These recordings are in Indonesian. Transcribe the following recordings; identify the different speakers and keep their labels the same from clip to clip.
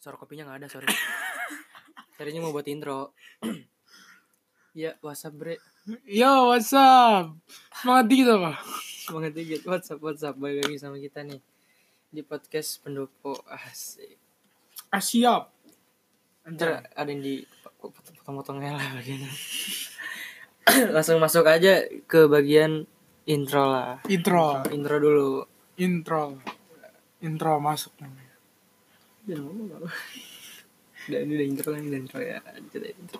Speaker 1: Sor kopinya nggak ada sorry. Tadinya mau buat intro. ya WhatsApp bre.
Speaker 2: Yo, what's up? Semangat dikit apa?
Speaker 1: Semangat dikit WhatsApp WhatsApp balik lagi sama kita nih di podcast pendopo asik.
Speaker 2: Ah, siap.
Speaker 1: Ntar ada yang di potong-potongnya lah bagian. Langsung masuk aja ke bagian intro lah.
Speaker 2: Intro,
Speaker 1: Intro dulu.
Speaker 2: intro, intro masuk namanya.
Speaker 1: Jangan ngomong apa. Dan ini udah intro kan, ini udah intro ya. Kita intro.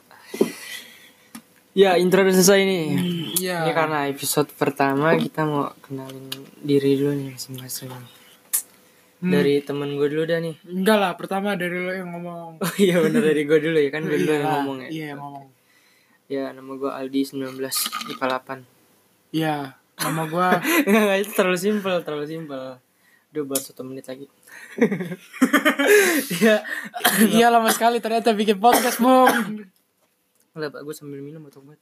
Speaker 1: Ya, intro udah selesai nih.
Speaker 2: Iya.
Speaker 1: Ini karena episode
Speaker 2: Oh.
Speaker 1: pertama kita mau kenalin diri dulu nih masing-masing.
Speaker 2: Hmm.
Speaker 1: Dari temen gue dulu dah nih.
Speaker 2: Enggak lah, pertama dari lo yang ngomong.
Speaker 1: Oh iya bener dari gue dulu ya kan gue dulu yang
Speaker 2: Iya,
Speaker 1: ngomong ya.
Speaker 2: Iya, yang ngomong.
Speaker 1: Ya nama gue Aldi 19 IPA 8.
Speaker 2: Iya, nama gua
Speaker 1: Enggak enggak, itu terlalu simpel, terlalu simpel. Udah buat satu menit lagi. ya,
Speaker 2: Iya lama sekali ternyata bikin podcast, Bung.
Speaker 1: enggak Pak, gue sambil minum atau buat.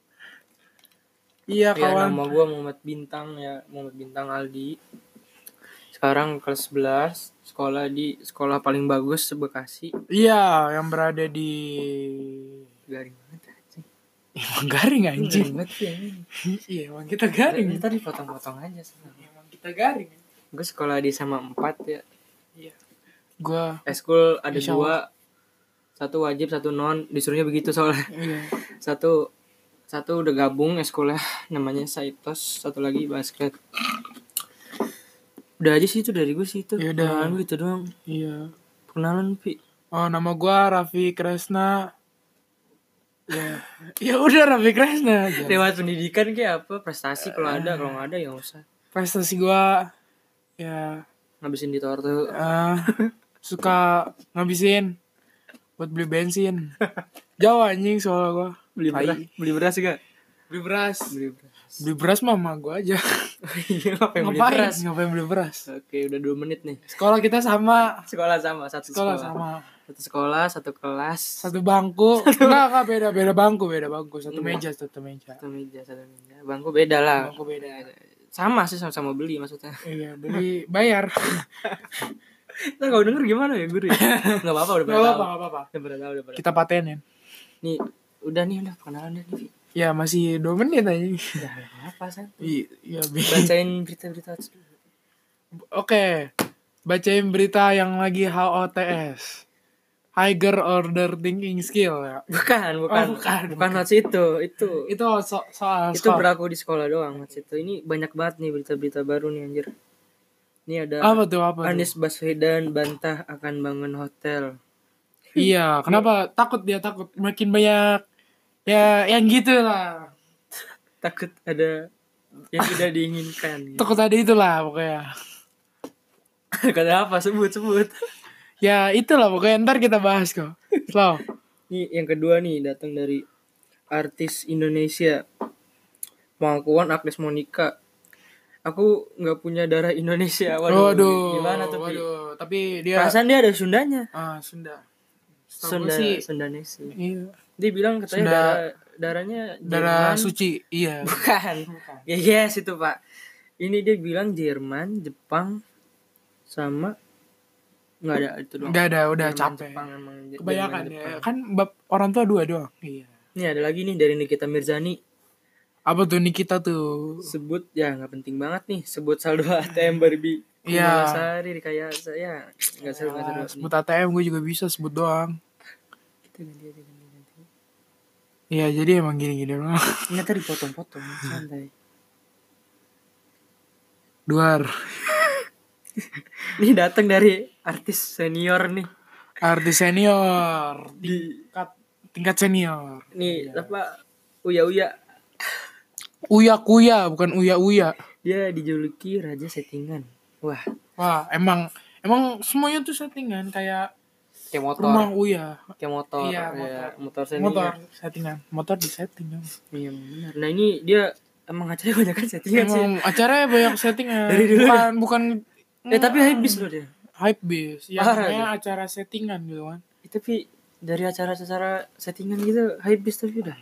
Speaker 2: Iya,
Speaker 1: Ya
Speaker 2: kawan.
Speaker 1: nama gue Muhammad Bintang ya Muhammad Bintang Aldi Sekarang kelas 11 Sekolah di sekolah paling bagus se- Bekasi
Speaker 2: Iya, yang berada di
Speaker 1: Garing banget anjing.
Speaker 2: Emang garing anjing.
Speaker 1: Garing banget ya
Speaker 2: iya, emang kita
Speaker 1: Garing
Speaker 2: garing.
Speaker 1: Ntar dipotong-potong aja
Speaker 2: Emang kita garing.
Speaker 1: Gue sekolah di sama 4 ya
Speaker 2: Iya. Gua
Speaker 1: Eskul ada
Speaker 2: Insya
Speaker 1: dua Satu wajib, satu non Disuruhnya begitu soalnya
Speaker 2: iya.
Speaker 1: Satu satu udah gabung eskulnya namanya Saitos satu lagi basket udah aja sih itu dari gue sih itu
Speaker 2: Ya udah.
Speaker 1: Kenalan gue itu doang
Speaker 2: Iya.
Speaker 1: perkenalan pi
Speaker 2: Oh, nama gua Raffi Kresna. Ya, ya udah Raffi Kresna aja.
Speaker 1: lewat pendidikan kayak apa prestasi kalau ada kalau nggak ada ya nggak usah
Speaker 2: Prestasi gua ya
Speaker 1: ngabisin di tuh
Speaker 2: eh, suka ngabisin buat beli bensin. Jauh anjing soal gua.
Speaker 1: beli
Speaker 2: Tai.
Speaker 1: beras beli beras gak
Speaker 2: Beli beras.
Speaker 1: beli beras
Speaker 2: Beli beras mama gua aja.
Speaker 1: iya ngapain beli
Speaker 2: Ngapain?
Speaker 1: beras
Speaker 2: Ngapain beli beras?
Speaker 1: oke udah dua menit nih
Speaker 2: Sekolah kita sama.
Speaker 1: sekolah sama satu sekolah,
Speaker 2: Sekolah sama.
Speaker 1: satu sekolah satu kelas
Speaker 2: Satu bangku. Enggak, enggak beda, beda bangku, beda bangku. Satu
Speaker 1: Iya.
Speaker 2: meja, satu meja.
Speaker 1: satu meja satu meja bangku beda lah
Speaker 2: Bangku beda.
Speaker 1: sama sih sama-sama beli maksudnya
Speaker 2: Iya, beli bayar.
Speaker 1: ntar kalau denger gimana ya guru ya? nggak apa-apa udah
Speaker 2: Gak
Speaker 1: pernah
Speaker 2: apa-apa,
Speaker 1: tahu
Speaker 2: gak apa-apa.
Speaker 1: udah pernah tahu udah pernah
Speaker 2: Kita patenin.
Speaker 1: nih udah nih udah perkenalan udah nih Pi.
Speaker 2: Ya masih 2 menit aja.
Speaker 1: udah apa san
Speaker 2: Iya, Bi.
Speaker 1: bacain berita-berita dulu.
Speaker 2: Oke. Bacain berita yang lagi HOTS. Higher order thinking skill ya.
Speaker 1: bukan bukan
Speaker 2: Oh, bukan,
Speaker 1: bukan hoax itu itu
Speaker 2: Itu so- soal
Speaker 1: itu
Speaker 2: soal.
Speaker 1: berlaku di sekolah doang mas itu ini banyak banget nih berita-berita baru nih anjir ini ada
Speaker 2: Apa tuh apa? tuh?
Speaker 1: Anies Baswedan bantah akan bangun hotel
Speaker 2: Iya, kenapa takut dia takut makin banyak ya yang gitu lah.
Speaker 1: takut ada yang tidak diinginkan
Speaker 2: Takut ada itulah pokoknya.
Speaker 1: kata apa sebut sebut
Speaker 2: Ya itulah pokoknya ntar kita bahas kok. Slow.
Speaker 1: ini yang kedua nih datang dari artis Indonesia pengakuan Agnes Monica aku nggak punya darah Indonesia waduh Ya.
Speaker 2: Waduh.
Speaker 1: gimana tuh Pi?
Speaker 2: Waduh, tapi dia
Speaker 1: perasaan dia ada Sundanya
Speaker 2: ah Sunda. Setahu
Speaker 1: Sunda
Speaker 2: gua sih
Speaker 1: Sundanesi
Speaker 2: iya.
Speaker 1: dia bilang katanya
Speaker 2: Sunda-
Speaker 1: darah darahnya
Speaker 2: darah
Speaker 1: Jerman.
Speaker 2: suci. Iya.
Speaker 1: Bukan. Ya yes itu pak. Ini dia bilang Jerman, Jepang, sama nggak ada itu doang.
Speaker 2: Enggak ada, udah
Speaker 1: Jerman,
Speaker 2: capek.
Speaker 1: Jepang, emang Jer-
Speaker 2: Kebanyakan
Speaker 1: Jerman,
Speaker 2: ya.
Speaker 1: Jepang.
Speaker 2: Kan bab orang tua dua doang. Iya.
Speaker 1: Nih ada lagi nih dari Nikita Mirzani
Speaker 2: Apa tuh Nikita tuh?
Speaker 1: sebut ya nggak penting banget nih sebut saldo ATM Barbie.
Speaker 2: Iya.
Speaker 1: Sari rekayasa ya nggak seru nggak seru. Nih,
Speaker 2: Ah, sebut ATM gue juga bisa sebut doang.
Speaker 1: Kita ganti aja ganti ganti.
Speaker 2: Iya, jadi emang gini-gini doang.
Speaker 1: Ini tadi potong-potong santai.
Speaker 2: Duar.
Speaker 1: Ini datang dari artis senior nih
Speaker 2: Artis senior.
Speaker 1: di
Speaker 2: Tingkat tingkat senior.
Speaker 1: nih
Speaker 2: Iya.
Speaker 1: apa Uya Uya
Speaker 2: Uya kuya bukan uya uya.
Speaker 1: dia dijuluki raja settingan. Wah
Speaker 2: Wah, emang emang semuanya tuh settingan kayak
Speaker 1: kayak motor
Speaker 2: rumah uya.
Speaker 1: kayak motor
Speaker 2: Iya,
Speaker 1: ya, motor, senior
Speaker 2: Motor settingan, motor di setting.
Speaker 1: iya benar nah ini dia emang acaranya banyak kan settingan sih
Speaker 2: Emang acaranya banyak settingan.
Speaker 1: Dari dulu
Speaker 2: bukan bukan
Speaker 1: eh tapi habis loh dia
Speaker 2: hype bis. Ya
Speaker 1: Parah
Speaker 2: namanya acara settingan gitu kan.
Speaker 1: Eh, tapi dari acara-acara settingan gitu habis tapi udah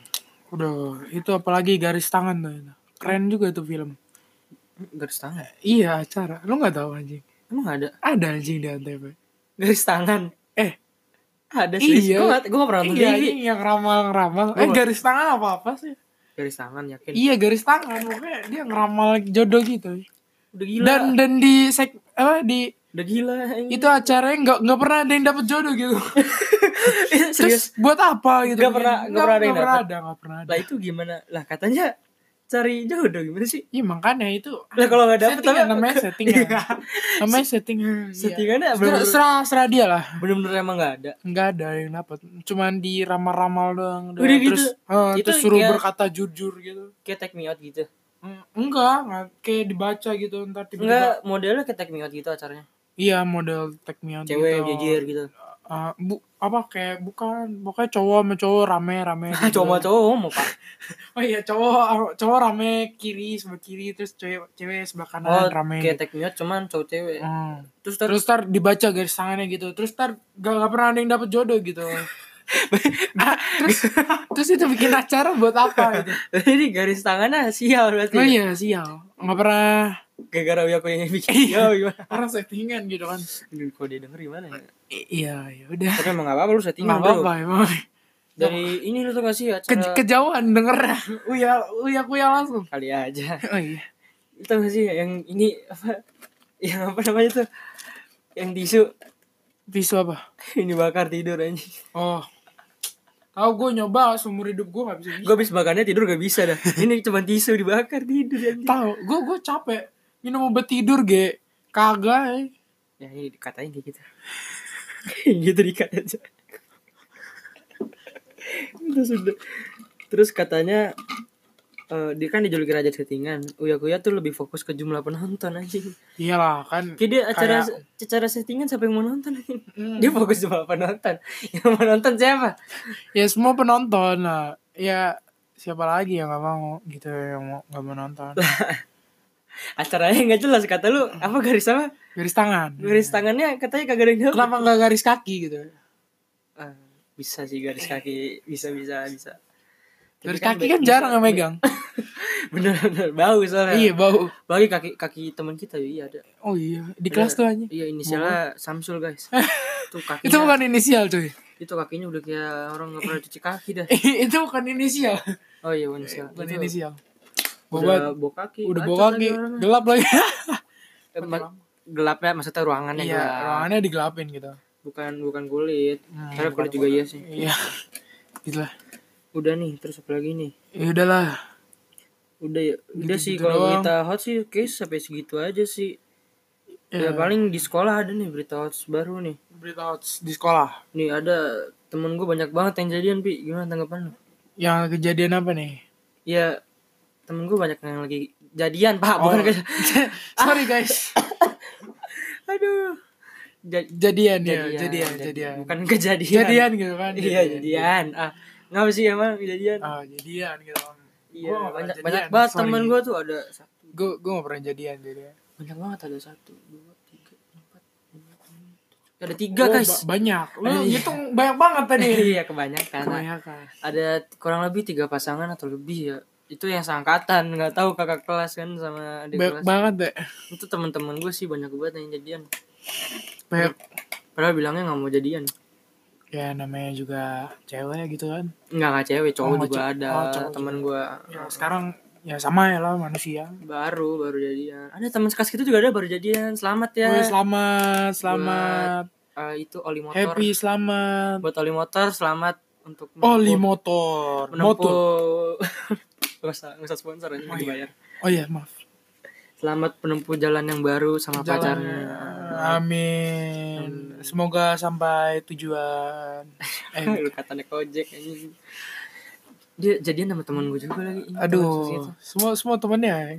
Speaker 2: Udah, itu apalagi garis tangan tuh. itu. Keren juga tuh film.
Speaker 1: garis tangan
Speaker 2: Iya, acara. Lu nggak tahu anjing.
Speaker 1: emang ada
Speaker 2: Ada anjing di Antv.
Speaker 1: garis tangan
Speaker 2: Eh,
Speaker 1: Ada sih.
Speaker 2: Iya.
Speaker 1: Gue gak, gua nggak pernah nonton
Speaker 2: Iya,
Speaker 1: TV.
Speaker 2: anjing yang ramal-ramal. Eh,
Speaker 1: Gua-
Speaker 2: garis tangan apa-apa sih?
Speaker 1: Garis tangan yakin.
Speaker 2: Iya, garis tangan. Pokoknya dia ngeramal jodoh gitu.
Speaker 1: Udah gila.
Speaker 2: Dan Iya. dan di sek apa di
Speaker 1: udah gila. anjing.
Speaker 2: itu acaranya nggak nggak pernah ada yang dapet jodoh gitu.
Speaker 1: Serius.
Speaker 2: Terus buat apa gitu?
Speaker 1: Nggak pernah- nggak pernah ada yang
Speaker 2: nggak pernah
Speaker 1: dapet.
Speaker 2: ada, nggak pernah ada.
Speaker 1: Lah itu gimana? Lah katanya cari jodoh gimana sih?
Speaker 2: Iya makanya itu.
Speaker 1: Lah kalau nggak dapet
Speaker 2: Settingan,
Speaker 1: tapi-
Speaker 2: namanya settingan.
Speaker 1: Iya. Hmm,
Speaker 2: namanya settingan. iya.
Speaker 1: Settingannya
Speaker 2: Serah-
Speaker 1: bener-bener-
Speaker 2: serah serah dia lah.
Speaker 1: Bener-bener emang gak ada.
Speaker 2: Nggak ada yang dapat. Cuman di ramal-ramal doang. doang.
Speaker 1: Udah gitu.
Speaker 2: Terus, eh,
Speaker 1: Itu
Speaker 2: terus suruh
Speaker 1: kayak-
Speaker 2: berkata jujur gitu.
Speaker 1: Kayak take me out gitu.
Speaker 2: Mm, Enggak, enggak kayak dibaca gitu ntar tiba-tiba.
Speaker 1: Enggak, modelnya kayak take me out gitu acaranya.
Speaker 2: Iya model take me out
Speaker 1: Cewek
Speaker 2: gitu.
Speaker 1: jejer gitu.
Speaker 2: Ah, bu apa kayak bukan pokoknya cowok sama cowok rame rame gitu.
Speaker 1: Cowok-cowok mau pak.
Speaker 2: oh iya cowok cowok rame kiri sebelah kiri terus cewek cewek sebelah kanan
Speaker 1: Oh,
Speaker 2: rame
Speaker 1: kayak
Speaker 2: gitu.
Speaker 1: take me out cuman cowok cewek.
Speaker 2: Hmm.
Speaker 1: Terus tar-
Speaker 2: terus tar dibaca garis tangannya gitu terus tar gak, gak pernah ada yang dapet jodoh gitu Ah, terus terus itu bikin acara buat apa gitu
Speaker 1: Jadi garis tangannya sial berarti.
Speaker 2: oh iya sial nggak pernah
Speaker 1: Gara-gara aku yang bikin. Iya, gimana?
Speaker 2: orang settingan gitu kan
Speaker 1: Aduh, Kalau dia denger gimana ya?
Speaker 2: I- iya ya udah
Speaker 1: Tapi emang gak apa-apa lu settingan
Speaker 2: nggak
Speaker 1: bro.
Speaker 2: apa-apa emang
Speaker 1: Dari ini lu tuh kasih
Speaker 2: Ke,
Speaker 1: acara
Speaker 2: kejauhan denger uya uya kuya langsung
Speaker 1: kali aja.
Speaker 2: oh iya
Speaker 1: Lu tau gak sih yang ini apa? Yang apa namanya tuh? Yang tisu
Speaker 2: tisu apa
Speaker 1: ini bakar tidur anjing.
Speaker 2: Oh. Tahu gue nyoba seumur hidup gue gak bisa. gitu.
Speaker 1: Gue habis bakarnya tidur gak bisa dah. Ini cuma tisu dibakar tidur anjing.
Speaker 2: Tahu, gue gue capek minum obat tidur ge. Kagak. eh.
Speaker 1: Ya ini dikatain kayak gitu. Kayak gitu dikat aja. Terus udah. Terus katanya eh, dia kan dijulukin raja settingan. Uya Kuya tuh lebih fokus ke jumlah penonton anjing.
Speaker 2: Iyalah kan.
Speaker 1: Kayak dia acara
Speaker 2: Kayak-
Speaker 1: acara settingan siapa yang mau nonton anjing.
Speaker 2: Hmm.
Speaker 1: Dia fokus jumlah penonton. Yang mau nonton siapa?
Speaker 2: Ya semua penonton lah. Ya siapa lagi yang gak mau gitu yang mau gak mau nonton.
Speaker 1: Acaranya nggak jelas kata lu apa garis apa?
Speaker 2: Garis tangan.
Speaker 1: Garis tangannya katanya kagak ada yang jawab.
Speaker 2: Kenapa gak garis kaki gitu?
Speaker 1: Ah, bisa sih garis kaki bisa bisa bisa. Tapi
Speaker 2: Garis kaki
Speaker 1: be-
Speaker 2: kan jarang yang megang.
Speaker 1: bener bener bau soalnya.
Speaker 2: iya bau.
Speaker 1: Bagi kaki kaki teman kita iya ada.
Speaker 2: Oh iya di kelas tuh aja.
Speaker 1: Iya inisialnya Samsul guys. Tuh kakinya.
Speaker 2: Itu bukan inisial cuy.
Speaker 1: itu kakinya udah kayak orang nggak pernah cuci kaki dah.
Speaker 2: itu bukan inisial.
Speaker 1: Oh iya inisial.
Speaker 2: Bukan
Speaker 1: Itu
Speaker 2: inisial.
Speaker 1: Udah
Speaker 2: Bobat
Speaker 1: bawa kaki.
Speaker 2: udah
Speaker 1: bacot
Speaker 2: bawa
Speaker 1: lagi
Speaker 2: kaki
Speaker 1: orangnya.
Speaker 2: gelap lagi.
Speaker 1: Eh, ma- gelapnya maksudnya ruangannya
Speaker 2: Iya,
Speaker 1: gelap.
Speaker 2: ruangannya digelapin gitu.
Speaker 1: Bukan bukan kulit.
Speaker 2: Hmm,
Speaker 1: Karena
Speaker 2: bukan
Speaker 1: kulit juga iya sih.
Speaker 2: Iya. Gitulah.
Speaker 1: Udah nih terus apa lagi nih?
Speaker 2: Ya udahlah.
Speaker 1: Udah ya, udah sih
Speaker 2: Gitu-gitu
Speaker 1: kalau
Speaker 2: doang.
Speaker 1: berita hot sih case sampai segitu aja sih.
Speaker 2: Ya,
Speaker 1: Ya paling di sekolah ada nih berita hot baru nih.
Speaker 2: berita hoax di sekolah.
Speaker 1: Nih ada temen gue banyak banget yang jadian Pi. Gimana tanggapan lu?
Speaker 2: Yang kejadian apa nih?
Speaker 1: Ya temen gue banyak yang lagi jadian pak
Speaker 2: Oh.
Speaker 1: bukan kayak-
Speaker 2: Sorry guys.
Speaker 1: aduh Ja-
Speaker 2: Jadian,
Speaker 1: jadian,
Speaker 2: ya, jadian, jadian.
Speaker 1: bukan kejadian
Speaker 2: Jadian gitu kan.
Speaker 1: iya jadian ah ngapa sih emang kejadian
Speaker 2: Ah, jadian gitu kan.
Speaker 1: iya banyak banyak banget teman gue tuh ada satu
Speaker 2: Gue gue gak pernah jadian gitu ya. jadi.
Speaker 1: banyak banget ada satu dua tiga empat lima enam, tujuh. ada tiga
Speaker 2: Gua
Speaker 1: guys
Speaker 2: ba- banyak. Lu
Speaker 1: Ada-
Speaker 2: hitung banyak banget tadi.
Speaker 1: Oh,
Speaker 2: kan.
Speaker 1: iya kebanyakan
Speaker 2: Kebanyakan.
Speaker 1: ada kurang lebih tiga pasangan atau lebih ya itu yang seangkatan nggak tahu kakak kelas kan sama adik
Speaker 2: Banyak
Speaker 1: kelas
Speaker 2: banget deh.
Speaker 1: itu teman-teman gue sih banyak banget yang jadian
Speaker 2: Banyak.
Speaker 1: padahal bilangnya nggak mau jadian
Speaker 2: Ya namanya juga cewek gitu kan.
Speaker 1: nggak nggak cewek cowok
Speaker 2: Oh, nggak
Speaker 1: juga
Speaker 2: cewek.
Speaker 1: ada
Speaker 2: Oh, cowok
Speaker 1: teman gue
Speaker 2: Ya sekarang ya sama ya lah manusia.
Speaker 1: baru baru jadian ada teman sekelas itu juga ada baru jadian selamat ya
Speaker 2: Woi, selamat, selamat.
Speaker 1: Eh, itu oli motor
Speaker 2: Happy, selamat.
Speaker 1: buat oli motor selamat untuk
Speaker 2: Oli motor. Motor.
Speaker 1: menempuh nggak usah nggak usah sponsor aja
Speaker 2: Oh, iya.
Speaker 1: dibayar
Speaker 2: Oh iya, maaf.
Speaker 1: selamat menempuh jalan yang baru sama
Speaker 2: Jalan.
Speaker 1: pacarnya
Speaker 2: Amin. Semoga sampai tujuan. Eh,
Speaker 1: lu katanya kojek anjing. dia jadian sama teman gue juga lagi ini teman sosial.
Speaker 2: aduh, semua semua temennya. ya?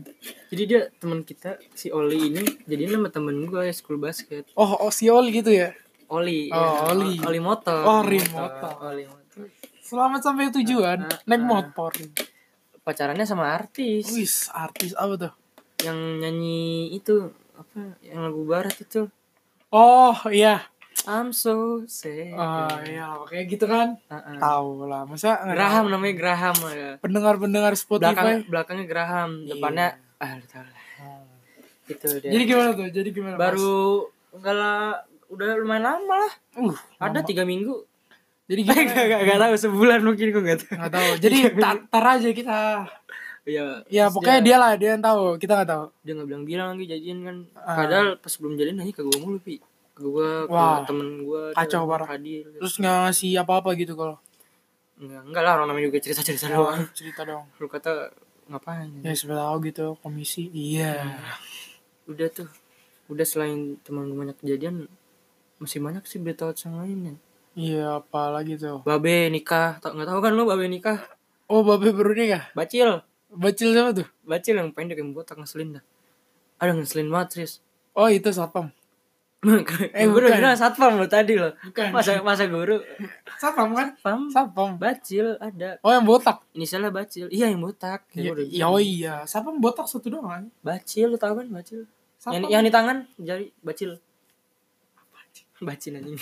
Speaker 1: jadi dia teman kita si Oli ini jadian sama temen gue school basket
Speaker 2: Oh, oh si Oli gitu ya.
Speaker 1: Oli
Speaker 2: Oh, Oli.
Speaker 1: Oli motor
Speaker 2: Oh, Oli motor.
Speaker 1: Oli motor
Speaker 2: Selamat sampai tujuan. Naik motor.
Speaker 1: pacarannya sama artis
Speaker 2: Wis, artis apa tuh?
Speaker 1: yang nyanyi itu apa yang lagu barat itu
Speaker 2: Oh iya.
Speaker 1: I'm so sad
Speaker 2: Oh iya, kayak gitu kan.
Speaker 1: Ah, ah.
Speaker 2: Tahu lah. Masa nggak
Speaker 1: Graham namanya Graham ya.
Speaker 2: pendengar-pendengar Spotify.
Speaker 1: belakang belakangnya Graham depannya ah lu tau lah
Speaker 2: Hmm.
Speaker 1: gitu dia
Speaker 2: Jadi gimana tuh? Jadi gimana? Mas?
Speaker 1: baru enggak lah udah lumayan lama lah
Speaker 2: uh,
Speaker 1: ada tiga minggu
Speaker 2: Jadi
Speaker 1: Gak,
Speaker 2: gimana?
Speaker 1: gak, gak, tahu sebulan mungkin gue gak tahu.
Speaker 2: Nggak tahu. Jadi tar, tar aja kita.
Speaker 1: Iya.
Speaker 2: Ya
Speaker 1: terus
Speaker 2: pokoknya Iya, dia lah dia yang tahu. Kita nggak tahu.
Speaker 1: dia nggak bilang-bilang lagi jadian kan.
Speaker 2: Ah.
Speaker 1: Padahal pas sebelum jadian nanya ke gue mulu pi. Ke gue, ke
Speaker 2: Wah.
Speaker 1: temen gue.
Speaker 2: Kacau parah.
Speaker 1: Hadir.
Speaker 2: Terus nggak ngasih apa-apa gitu kalau.
Speaker 1: Enggak, enggak lah orang namanya juga cerita-cerita doang.
Speaker 2: Doang cerita dong.
Speaker 1: Lu kata ngapain?
Speaker 2: Ya siapa tahu gitu komisi. Iya.
Speaker 1: Udah tuh. Udah selain teman gue banyak kejadian masih banyak sih berita yang lainnya.
Speaker 2: Iya apalagi tuh.
Speaker 1: Babe nikah, tau nggak tahu kan lu babe nikah?
Speaker 2: Oh babe baru nikah.
Speaker 1: Bacil,
Speaker 2: Bacil siapa tuh?
Speaker 1: bacil yang pendek yang botak ngeselin dah. Ada ngeselin matris.
Speaker 2: Oh itu satpam.
Speaker 1: eh, gue udah
Speaker 2: bukan.
Speaker 1: bilang satpam lo tadi lo.
Speaker 2: Bukan.
Speaker 1: Masa masa guru.
Speaker 2: Satpam kan?
Speaker 1: Pam.
Speaker 2: Satpam.
Speaker 1: Bacil ada.
Speaker 2: Oh yang botak.
Speaker 1: Inisialnya bacil. Iya yang botak. Ya,
Speaker 2: Ya,
Speaker 1: gua udah
Speaker 2: ya,
Speaker 1: bilang.
Speaker 2: oh iya. Satpam botak satu doang kan?
Speaker 1: Bacil lu tahu kan bacil? Yang,
Speaker 2: Satpam.
Speaker 1: yang di tangan jari bacil. Bacil anjing.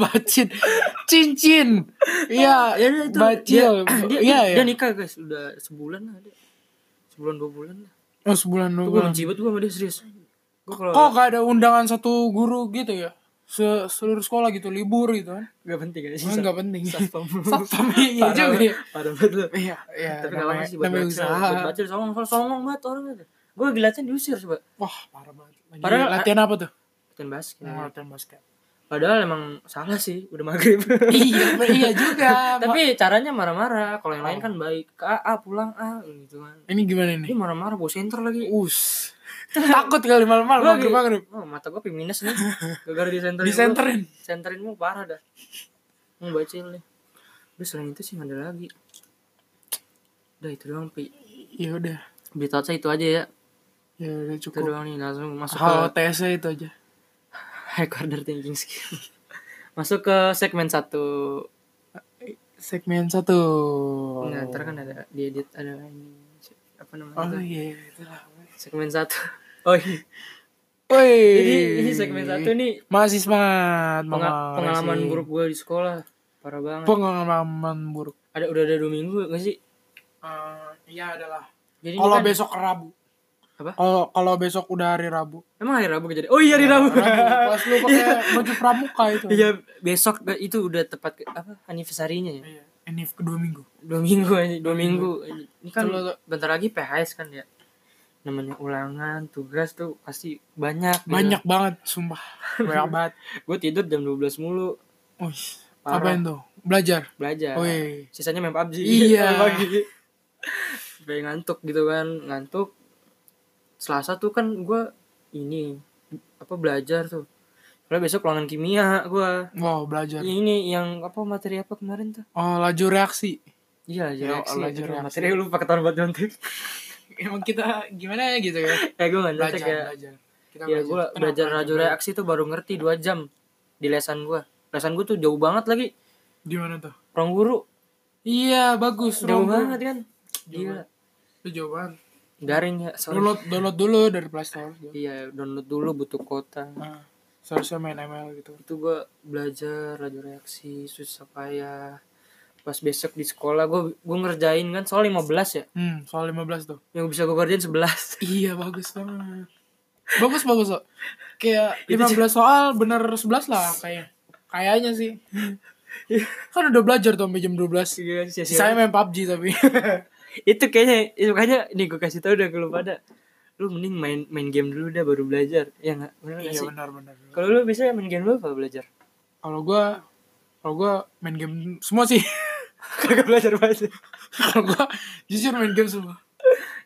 Speaker 2: bacin cincin iya
Speaker 1: ya udah, itu
Speaker 2: bacil
Speaker 1: dia, dia,
Speaker 2: iya
Speaker 1: dia-
Speaker 2: ya
Speaker 1: dia nikah guys udah sebulan lah dia sebulan dua bulan lah
Speaker 2: oh sebulan Oh. dua
Speaker 1: gue
Speaker 2: bulan
Speaker 1: benci banget gue sama dia serius gue kalau
Speaker 2: kok gak ada undangan satu guru gitu ya Se seluruh sekolah gitu libur gitu kan
Speaker 1: gak penting kan sih
Speaker 2: Emang nggak penting
Speaker 1: satpam
Speaker 2: satpam iya
Speaker 1: Parah
Speaker 2: juga ya
Speaker 1: banget, parah banget lu
Speaker 2: iya iya
Speaker 1: tapi gak apa
Speaker 2: namanya,
Speaker 1: sih buat
Speaker 2: namanya
Speaker 1: bacil
Speaker 2: usaha
Speaker 1: buat bacil songong kalau songong banget orang itu gue giliran diusir coba
Speaker 2: wah parah banget Lagi
Speaker 1: Padahal- ah,
Speaker 2: latihan apa tuh
Speaker 1: latihan basket
Speaker 2: latihan basket
Speaker 1: padahal emang salah sih udah maghrib
Speaker 2: iya iya juga tapi
Speaker 1: tapi caranya marah-marah kalau yang lain
Speaker 2: Oh.
Speaker 1: kan baik ah, ah, pulang ah gitu kan
Speaker 2: ini gimana
Speaker 1: ini
Speaker 2: nih
Speaker 1: marah-marah bawa center lagi
Speaker 2: us takut kali malam-malam
Speaker 1: Gua lagi-
Speaker 2: maghrib maghrib
Speaker 1: Oh, mata gue minus nih. Gara-gara di centerin.
Speaker 2: Disenterin.
Speaker 1: mulu. Centerin mulu parah dah. Mau bacil nih. Udah selain itu sih nggak ada lagi. Udah itu doang Pi.
Speaker 2: ya udah
Speaker 1: Berita saya itu aja ya.
Speaker 2: ya udah
Speaker 1: Itu
Speaker 2: cukup
Speaker 1: doang nih langsung masuk
Speaker 2: hal
Speaker 1: ke
Speaker 2: TSA itu aja
Speaker 1: recorder thinking skill. masuk ke segmen satu.
Speaker 2: segmen satu
Speaker 1: Nah,
Speaker 2: Iya.
Speaker 1: ntar kan ada diedit ada ini apa
Speaker 2: oh
Speaker 1: namanya? tuh?
Speaker 2: iya itulah
Speaker 1: Segmen satu. Ah. Oh iya.
Speaker 2: Woi,
Speaker 1: Jadi ini segmen satu nih
Speaker 2: masih semangat
Speaker 1: penga-
Speaker 2: Mama.
Speaker 1: pengalaman
Speaker 2: Masih.
Speaker 1: buruk gue di sekolah. Parah banget.
Speaker 2: pengalaman buruk
Speaker 1: Ada udah ada dua minggu gak sih?
Speaker 2: iya adalah
Speaker 1: Jadi ini
Speaker 2: kalau
Speaker 1: kan-
Speaker 2: besok Rabu
Speaker 1: Apa?
Speaker 2: kalau kalau besok udah hari Rabu
Speaker 1: Emang hari Rabu kejadian? Oh iya hari Rabu.
Speaker 2: Rabu pas lu pakai baju pramuka itu
Speaker 1: Iya besok itu udah tepat ke- apa anniversary-nya ya.
Speaker 2: Iya. ini kedua minggu
Speaker 1: Dua minggu aja, dua minggu. Ini kan
Speaker 2: Itu lo-
Speaker 1: bentar lagi PHS kan ya. Namanya ulangan, tugas tuh pasti banyak. gitu.
Speaker 2: banyak banget sumpah banyak banget
Speaker 1: Gue tidur jam 12 mulu
Speaker 2: Wih,
Speaker 1: Parah.
Speaker 2: apain tuh belajar
Speaker 1: belajar.
Speaker 2: Wih.
Speaker 1: Sisanya main PUBG.
Speaker 2: Iya.
Speaker 1: Pagi. Sampai ngantuk gitu kan, ngantuk. Selasa tuh kan gue ini apa belajar tuh. Kalau besok ulangan kimia gue.
Speaker 2: wow belajar
Speaker 1: Ini yang apa materi apa kemarin tuh?
Speaker 2: oh laju reaksi
Speaker 1: Iya,
Speaker 2: Ya,
Speaker 1: reaksi.
Speaker 2: Allah,
Speaker 1: Aduh,
Speaker 2: reaksi.
Speaker 1: Materi lu pakai tahun buat nyontek.
Speaker 2: emang kita gimana ya gitu ya Iya,
Speaker 1: Eh gue nggak nyontek
Speaker 2: belajar
Speaker 1: ya.
Speaker 2: belajar kita
Speaker 1: Ya gue
Speaker 2: Tenang,
Speaker 1: belajar raju reaksi tuh baru ngerti 2 jam di lesan gue. Lesan gue tuh jauh banget lagi.
Speaker 2: di mana tuh
Speaker 1: Ruang guru
Speaker 2: iya bagus
Speaker 1: jauh
Speaker 2: Rom.
Speaker 1: banget kan.
Speaker 2: Jauh
Speaker 1: Gila.
Speaker 2: Itu jauh banget.
Speaker 1: Garing ya. Sorry.
Speaker 2: download download dulu dari Play Store
Speaker 1: Iya download dulu butuh kuota.
Speaker 2: nah, seharusnya main ML gitu
Speaker 1: Itu gue belajar raju reaksi susah payah. Pas besok di sekolah gue gue ngerjain kan soal 15 ya.
Speaker 2: hmm soal 15 tuh
Speaker 1: Yang bisa gue kerjain 11.
Speaker 2: iya bagus banget bagus bagus kok kayak
Speaker 1: Itu
Speaker 2: 15 soal bener 11 lah kayak kayaknya sih kan udah belajar tuh sampai jam 12
Speaker 1: Iya, sia-sia.
Speaker 2: saya main PUBG tapi
Speaker 1: itu kayaknya itu kayaknya nih gue kasih tau udah kalau pada lu mending main main game dulu dah baru belajar ya nggak bener nggak
Speaker 2: iya
Speaker 1: sih
Speaker 2: benar benar
Speaker 1: kalau lu biasanya main game dulu apa belajar
Speaker 2: kalau gua kalau gua main game semua sih
Speaker 1: kagak belajar banget
Speaker 2: kalau gua jujur main game semua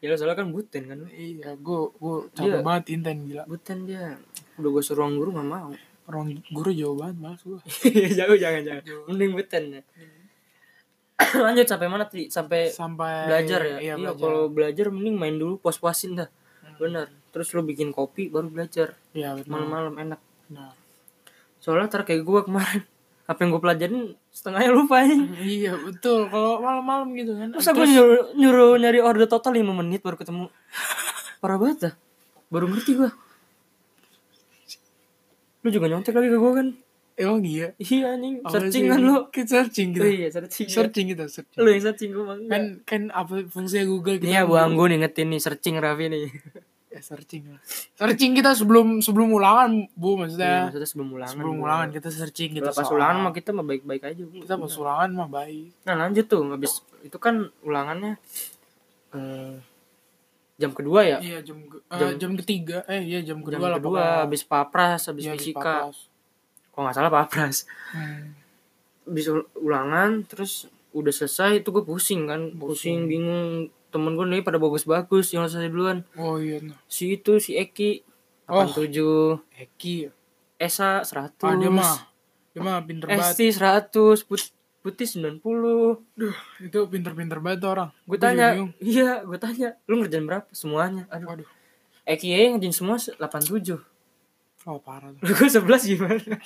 Speaker 1: ya lu soalnya kan buten kan lu.
Speaker 2: iya gua gua
Speaker 1: Iya.
Speaker 2: capek banget inten gila
Speaker 1: buten dia udah gue suruh ruang guru nggak mau
Speaker 2: orang guru jauh banget malas gua
Speaker 1: Iya. jauh jangan jangan mending buten ya lanjut sampai mana tadi sampai
Speaker 2: sampai
Speaker 1: belajar Hmm. ya
Speaker 2: iya,
Speaker 1: iya,
Speaker 2: belajar.
Speaker 1: kalau belajar mending main dulu puas puasin dah bener terus lu bikin kopi baru belajar
Speaker 2: Iya Nah, benar.
Speaker 1: malam-malam enak
Speaker 2: Benar.
Speaker 1: soalnya ntar kayak gue kemarin apa yang gue pelajarin setengahnya lupa nih
Speaker 2: Iya betul. Kalau malam-malam gitu kan.
Speaker 1: Masa gue nyuruh, nyuruh nyari order total 5 menit baru ketemu Parah banget dah Baru ngerti gue Lu juga nyontek lagi ke gue kan
Speaker 2: Emang iya.
Speaker 1: Iya anjing
Speaker 2: Apa
Speaker 1: Searching
Speaker 2: sih?
Speaker 1: kan lu
Speaker 2: Kita searching gitu.
Speaker 1: Oh iya searching ya.
Speaker 2: Searching gitu, searching.
Speaker 1: Lu yang searching gue bangga
Speaker 2: Kan kan apa fungsinya Google
Speaker 1: Ini ya
Speaker 2: kita.
Speaker 1: Bang gue ngingetin nih searching Raffi nih
Speaker 2: ya searching lah searching kita sebelum sebelum ulangan bu
Speaker 1: Iya,
Speaker 2: maksudnya
Speaker 1: maksudnya sebelum ulangan.
Speaker 2: sebelum
Speaker 1: gua.
Speaker 2: ulangan kita searching kita
Speaker 1: Kalau pas
Speaker 2: soal.
Speaker 1: ulangan mah kita mah baik-baik aja.
Speaker 2: kita pas ulangan mah baik
Speaker 1: Nah lanjut tuh habis itu kan ulangannya eh, jam kedua ya.
Speaker 2: iya jam ke- eh,
Speaker 1: Jam-
Speaker 2: jam ketiga eh iya jam
Speaker 1: Jam
Speaker 2: kedua lah Iya,
Speaker 1: kedua habis papras, habis fisika. Kalau nggak salah papras.
Speaker 2: Hmm.
Speaker 1: Habis ul- ulangan terus udah selesai itu gue pusing kan, pusing, bingung temen gue nih pada bagus-bagus yang selesai duluan
Speaker 2: oh iya nah.
Speaker 1: si itu si Eki
Speaker 2: Oh.
Speaker 1: 87
Speaker 2: Eki
Speaker 1: Esa 100
Speaker 2: ah dia mah dia mah pinter
Speaker 1: Eh,
Speaker 2: banget
Speaker 1: Esti 100 Put- Putih 90
Speaker 2: Duh, itu pinter-pinter banget tuh orang
Speaker 1: Gue
Speaker 2: Gua juga
Speaker 1: tanya,
Speaker 2: bingung.
Speaker 1: iya gue tanya, lu ngerjain berapa semuanya? Aduh,
Speaker 2: waduh
Speaker 1: Eki aja ngerjain semua se- 87
Speaker 2: oh parah tuh
Speaker 1: Lu gue 11 gimana?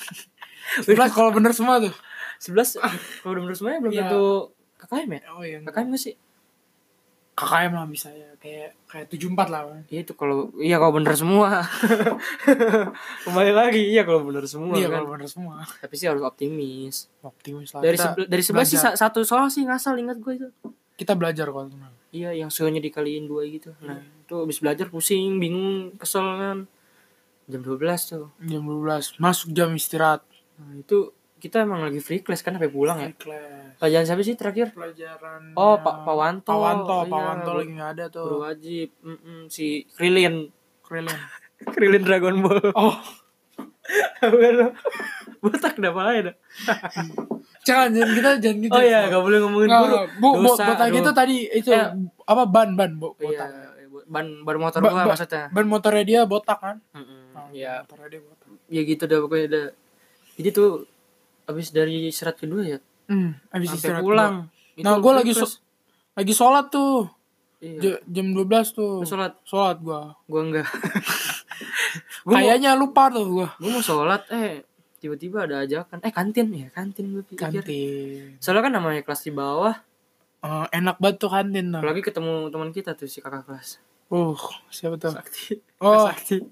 Speaker 2: Sebelas kalau bener semua tuh
Speaker 1: 11, kalau udah bener semuanya belum
Speaker 2: Iya.
Speaker 1: tentu KKM ya?
Speaker 2: oh iya
Speaker 1: KKM gak sih?
Speaker 2: KKM lah bisa ya kayak kayak tujuh empat lah
Speaker 1: Iya itu kalau, iya kalau bener semua Kembali lagi, iya kalau bener semua
Speaker 2: iya
Speaker 1: kan
Speaker 2: kalau bener semua
Speaker 1: Tapi sih harus optimis
Speaker 2: optimis lah
Speaker 1: Dari,
Speaker 2: Kita
Speaker 1: sebel- dari sebelas sih
Speaker 2: belajar.
Speaker 1: sa- satu soal sih ngasal ingat gue itu
Speaker 2: kita belajar kalau tenang
Speaker 1: Iya yang soalnya dikaliin dua gitu
Speaker 2: Iya.
Speaker 1: Nah itu abis belajar pusing, bingung, kesel kan Jam 12 tuh
Speaker 2: jam 12 masuk jam istirahat
Speaker 1: Nah, itu kita emang lagi free class kan sampai pulang ya.
Speaker 2: kelas
Speaker 1: Pelajaran siapa sih terakhir?
Speaker 2: pelajaran ya.
Speaker 1: Oh, Pak Pak Wanto.
Speaker 2: Pak Wanto
Speaker 1: Iya,
Speaker 2: Pak Wanto
Speaker 1: guru-
Speaker 2: lagi nggak ada tuh
Speaker 1: Guru wajib. Mm-mm, si Krilin.
Speaker 2: Krillin
Speaker 1: Krilin Dragon Ball.
Speaker 2: oh
Speaker 1: Apaan lo? Botak kenapa aja dah?
Speaker 2: jangan jangan kita jangan gitu
Speaker 1: Oh iya, gak boleh ngomongin
Speaker 2: Nggak,
Speaker 1: guru.
Speaker 2: nggak. bu, bu
Speaker 1: Dosa,
Speaker 2: botak
Speaker 1: dosa.
Speaker 2: itu tadi itu
Speaker 1: Eh.
Speaker 2: apa ban ban bu
Speaker 1: Oh, Iya,
Speaker 2: botak
Speaker 1: bu- ban ban motor
Speaker 2: Ba-
Speaker 1: gua
Speaker 2: ba-
Speaker 1: maksudnya.
Speaker 2: ban motornya dia botak kan
Speaker 1: Mm-mm,
Speaker 2: Nah,
Speaker 1: Iya,
Speaker 2: ban motornya dia botak
Speaker 1: ya gitu dah pokoknya dah. Jadi tuh abis dari serat kedua ya,
Speaker 2: hmm, habis
Speaker 1: sampai
Speaker 2: istirahat
Speaker 1: pulang. Itu
Speaker 2: nah gue
Speaker 1: free
Speaker 2: lagi
Speaker 1: class.
Speaker 2: so- lagi sholat tuh
Speaker 1: Iya.
Speaker 2: J- jam 12 tuh
Speaker 1: Lu sholat,
Speaker 2: sholat gua
Speaker 1: gua enggak. Gua mau-
Speaker 2: kayaknya lupa tuh gua
Speaker 1: gue mau sholat eh tiba-tiba ada ajakan eh kantin ya kantin gue pikir
Speaker 2: kantin
Speaker 1: soalnya kan namanya kelas di bawah
Speaker 2: Eh, enak banget tuh kantin tuh
Speaker 1: apalagi ketemu teman kita tuh si kakak kelas
Speaker 2: uh siapa tuh
Speaker 1: sakti
Speaker 2: oh
Speaker 1: sakti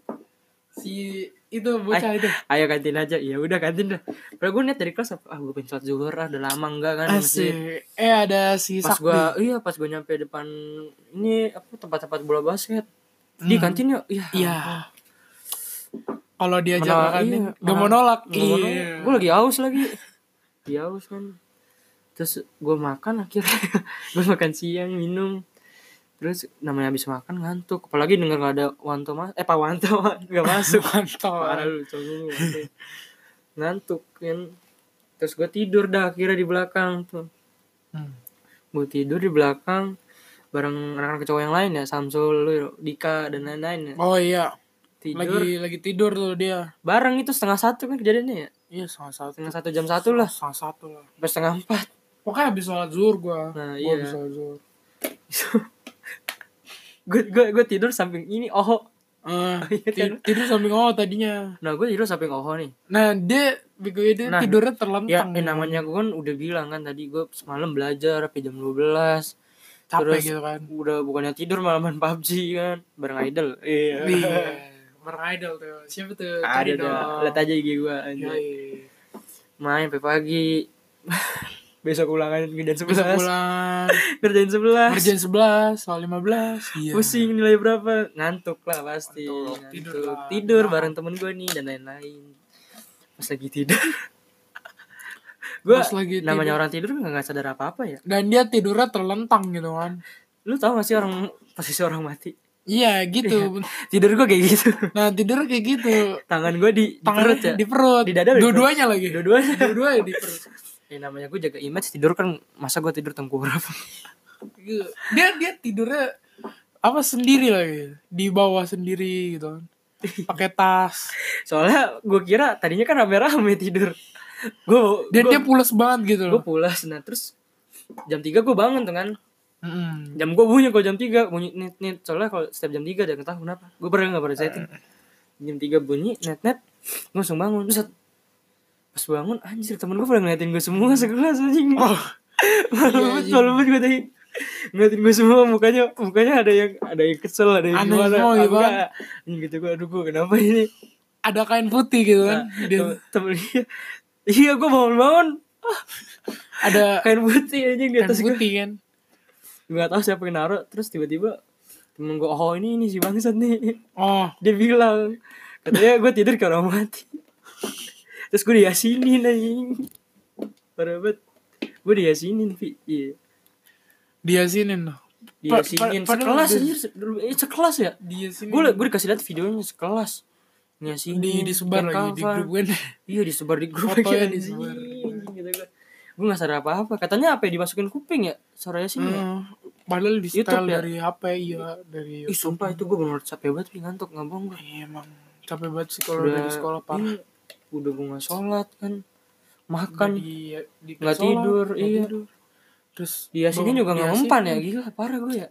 Speaker 2: si itu bocah itu
Speaker 1: ayo kantin aja ya udah kantin dah padahal gue niat dari kelas apa ah gue pengen sholat zuhur ah, udah lama enggak kan di masjid.
Speaker 2: asik eh ada si
Speaker 1: pas
Speaker 2: sakti
Speaker 1: gue iya pas gue nyampe depan ini apa tempat-tempat bola basket di
Speaker 2: Hmm.
Speaker 1: kantin yuk iya
Speaker 2: iya kalau diajak
Speaker 1: Menolak,
Speaker 2: ke kantin
Speaker 1: iya,
Speaker 2: gak mau
Speaker 1: menolak.
Speaker 2: nolak
Speaker 1: iya. gue lagi haus lagi lagi haus kan terus gue makan akhirnya gue makan siang minum terus namanya habis makan ngantuk apalagi denger gak ada Wanto mas eh Pak Wanto gak masuk parah
Speaker 2: mantap
Speaker 1: lu cowok lu, ngantuk kan terus gue tidur dah akhirnya di belakang tuh
Speaker 2: Hmm.
Speaker 1: gue tidur di belakang bareng anak-anak cowok yang lain ya Samsul lu Dika dan lain-lain ya.
Speaker 2: oh iya
Speaker 1: tidur
Speaker 2: lagi lagi tidur tuh dia
Speaker 1: bareng itu setengah satu kan kejadiannya ya
Speaker 2: iya setengah satu
Speaker 1: setengah satu jam satu lah
Speaker 2: setengah satu lah
Speaker 1: sampai setengah empat
Speaker 2: pokoknya habis sholat zuhur gua
Speaker 1: Nah,
Speaker 2: Gua
Speaker 1: iya.
Speaker 2: habis sholat zuhur
Speaker 1: gue gue gue tidur samping ini oho
Speaker 2: Eh,
Speaker 1: iya
Speaker 2: ti- tidur samping oh tadinya
Speaker 1: nah gue tidur samping oho nih
Speaker 2: nah dia bego dia
Speaker 1: Nah,
Speaker 2: tidurnya
Speaker 1: ya
Speaker 2: terlentang
Speaker 1: eh, namanya gue kan udah bilang kan tadi gue semalam belajar sampai jam 12
Speaker 2: capek
Speaker 1: terus-
Speaker 2: gitu kan
Speaker 1: udah bukannya tidur malaman PUBG kan bareng idol iya
Speaker 2: Iya, beridol tuh. Siapa tuh?
Speaker 1: ada
Speaker 2: Iya.
Speaker 1: Iya.
Speaker 2: Cari
Speaker 1: ada
Speaker 2: dong.
Speaker 1: lihat aja IG gue anjay.
Speaker 2: Yoi.
Speaker 1: main sampai pagi besok ulangan kerjaan
Speaker 2: Bisa
Speaker 1: sebelas
Speaker 2: pulang.
Speaker 1: kerjaan sebelas
Speaker 2: Kerjaan 11, soal 15. Iya.
Speaker 1: pusing nilai berapa ngantuk lah pasti
Speaker 2: Ngantuk,
Speaker 1: ngantuk.
Speaker 2: tidur
Speaker 1: tidur,
Speaker 2: lah.
Speaker 1: bareng temen gue nih dan lain-lain pas lagi tidur gue
Speaker 2: Pas lagi tidur.
Speaker 1: namanya orang tidur nggak nggak sadar apa apa ya
Speaker 2: Dan dia tidurnya terlentang gitu kan.
Speaker 1: lu tau gak sih orang posisi orang mati
Speaker 2: Iya, gitu.
Speaker 1: tidur gue kayak gitu
Speaker 2: Nah, tidur kayak gitu.
Speaker 1: tangan gue di, di
Speaker 2: Tangan
Speaker 1: perut ya
Speaker 2: di perut.
Speaker 1: Di dada, di
Speaker 2: Dua-duanya lagi.
Speaker 1: dua-duanya
Speaker 2: Dua-duanya di perut.
Speaker 1: ya, namanya gue jaga image tidur kan masa gue tidur tengkurap
Speaker 2: Gitu. Dia dia tidurnya apa sendiri lagi di bawah sendiri gitu kan pakai tas
Speaker 1: soalnya gue kira tadinya kan rame-rame tidur gue
Speaker 2: dia dia pulas banget gitu
Speaker 1: gue
Speaker 2: loh
Speaker 1: pulas nah terus jam 3 gue bangun tuh kan
Speaker 2: Mm-mm.
Speaker 1: jam gue bunyi kalau jam 3 bunyi net net soalnya kalau setiap jam 3 ada nggak tahu kenapa gue pernah nggak pernah setting jam 3 bunyi net net gue langsung bangun Set. pas bangun anjir temen gue pada ngeliatin gue semua sekelas anjing oh. iya. malu banget
Speaker 2: anjing.
Speaker 1: malu banget gue tadi ngeliatin gue semua mukanya mukanya ada yang ada yang kesel ada yang
Speaker 2: Aneh
Speaker 1: gimana
Speaker 2: semua,
Speaker 1: Aku
Speaker 2: gitu kan.
Speaker 1: nggak- anjing gitu gue aduh gue kenapa ini
Speaker 2: ada kain putih gitu kan dia
Speaker 1: Nah, Tem- temen dia iya gue bangun bangun
Speaker 2: ada
Speaker 1: kain putih anjing di
Speaker 2: Kan? kain
Speaker 1: atas gue
Speaker 2: putih kan
Speaker 1: nggak tahu siapa yang naruh terus tiba-tiba temen gue oh ini ini si bangsat nih
Speaker 2: oh
Speaker 1: dia bilang katanya gue tidur ke orang mati terus gue diyasinin anjing parah banget gue diyasinin Vi iya
Speaker 2: dia sinin loh Pa-
Speaker 1: diyasinin
Speaker 2: pa- padahal
Speaker 1: sekelas
Speaker 2: dia-
Speaker 1: anjir se- eh, sekelas ya
Speaker 2: dia sinin
Speaker 1: gue gue dikasih lihat videonya sekelas Nyasinin,
Speaker 2: di disebar
Speaker 1: pakai
Speaker 2: lagi di
Speaker 1: cover.
Speaker 2: grup kan
Speaker 1: Iya disebar di grup Gitu,
Speaker 2: Fotonya
Speaker 1: aja di sini.
Speaker 2: disebar.
Speaker 1: Gue gak sadar apa-apa. Katanya apa ya dimasukin kuping ya? Suaranya sini. ya?
Speaker 2: Hmm, padahal di setel
Speaker 1: YouTube ya?
Speaker 2: dari HP iya dari
Speaker 1: Ih sumpah itu gue bener capek banget Pi. ngantuk nggak bohong gue.
Speaker 2: Iya, emang capek banget sih kalau dari sekolah parah
Speaker 1: Iya, udah gue gak sholat kan.
Speaker 2: kan
Speaker 1: Makan.
Speaker 2: di, di
Speaker 1: Nggak
Speaker 2: sholat,
Speaker 1: tidur,
Speaker 2: nggak
Speaker 1: iya.
Speaker 2: tidur. terus
Speaker 1: Dia sini
Speaker 2: bawa-
Speaker 1: kan juga
Speaker 2: dia
Speaker 1: gak mempan
Speaker 2: sini.
Speaker 1: ya. Gila parah gue ya.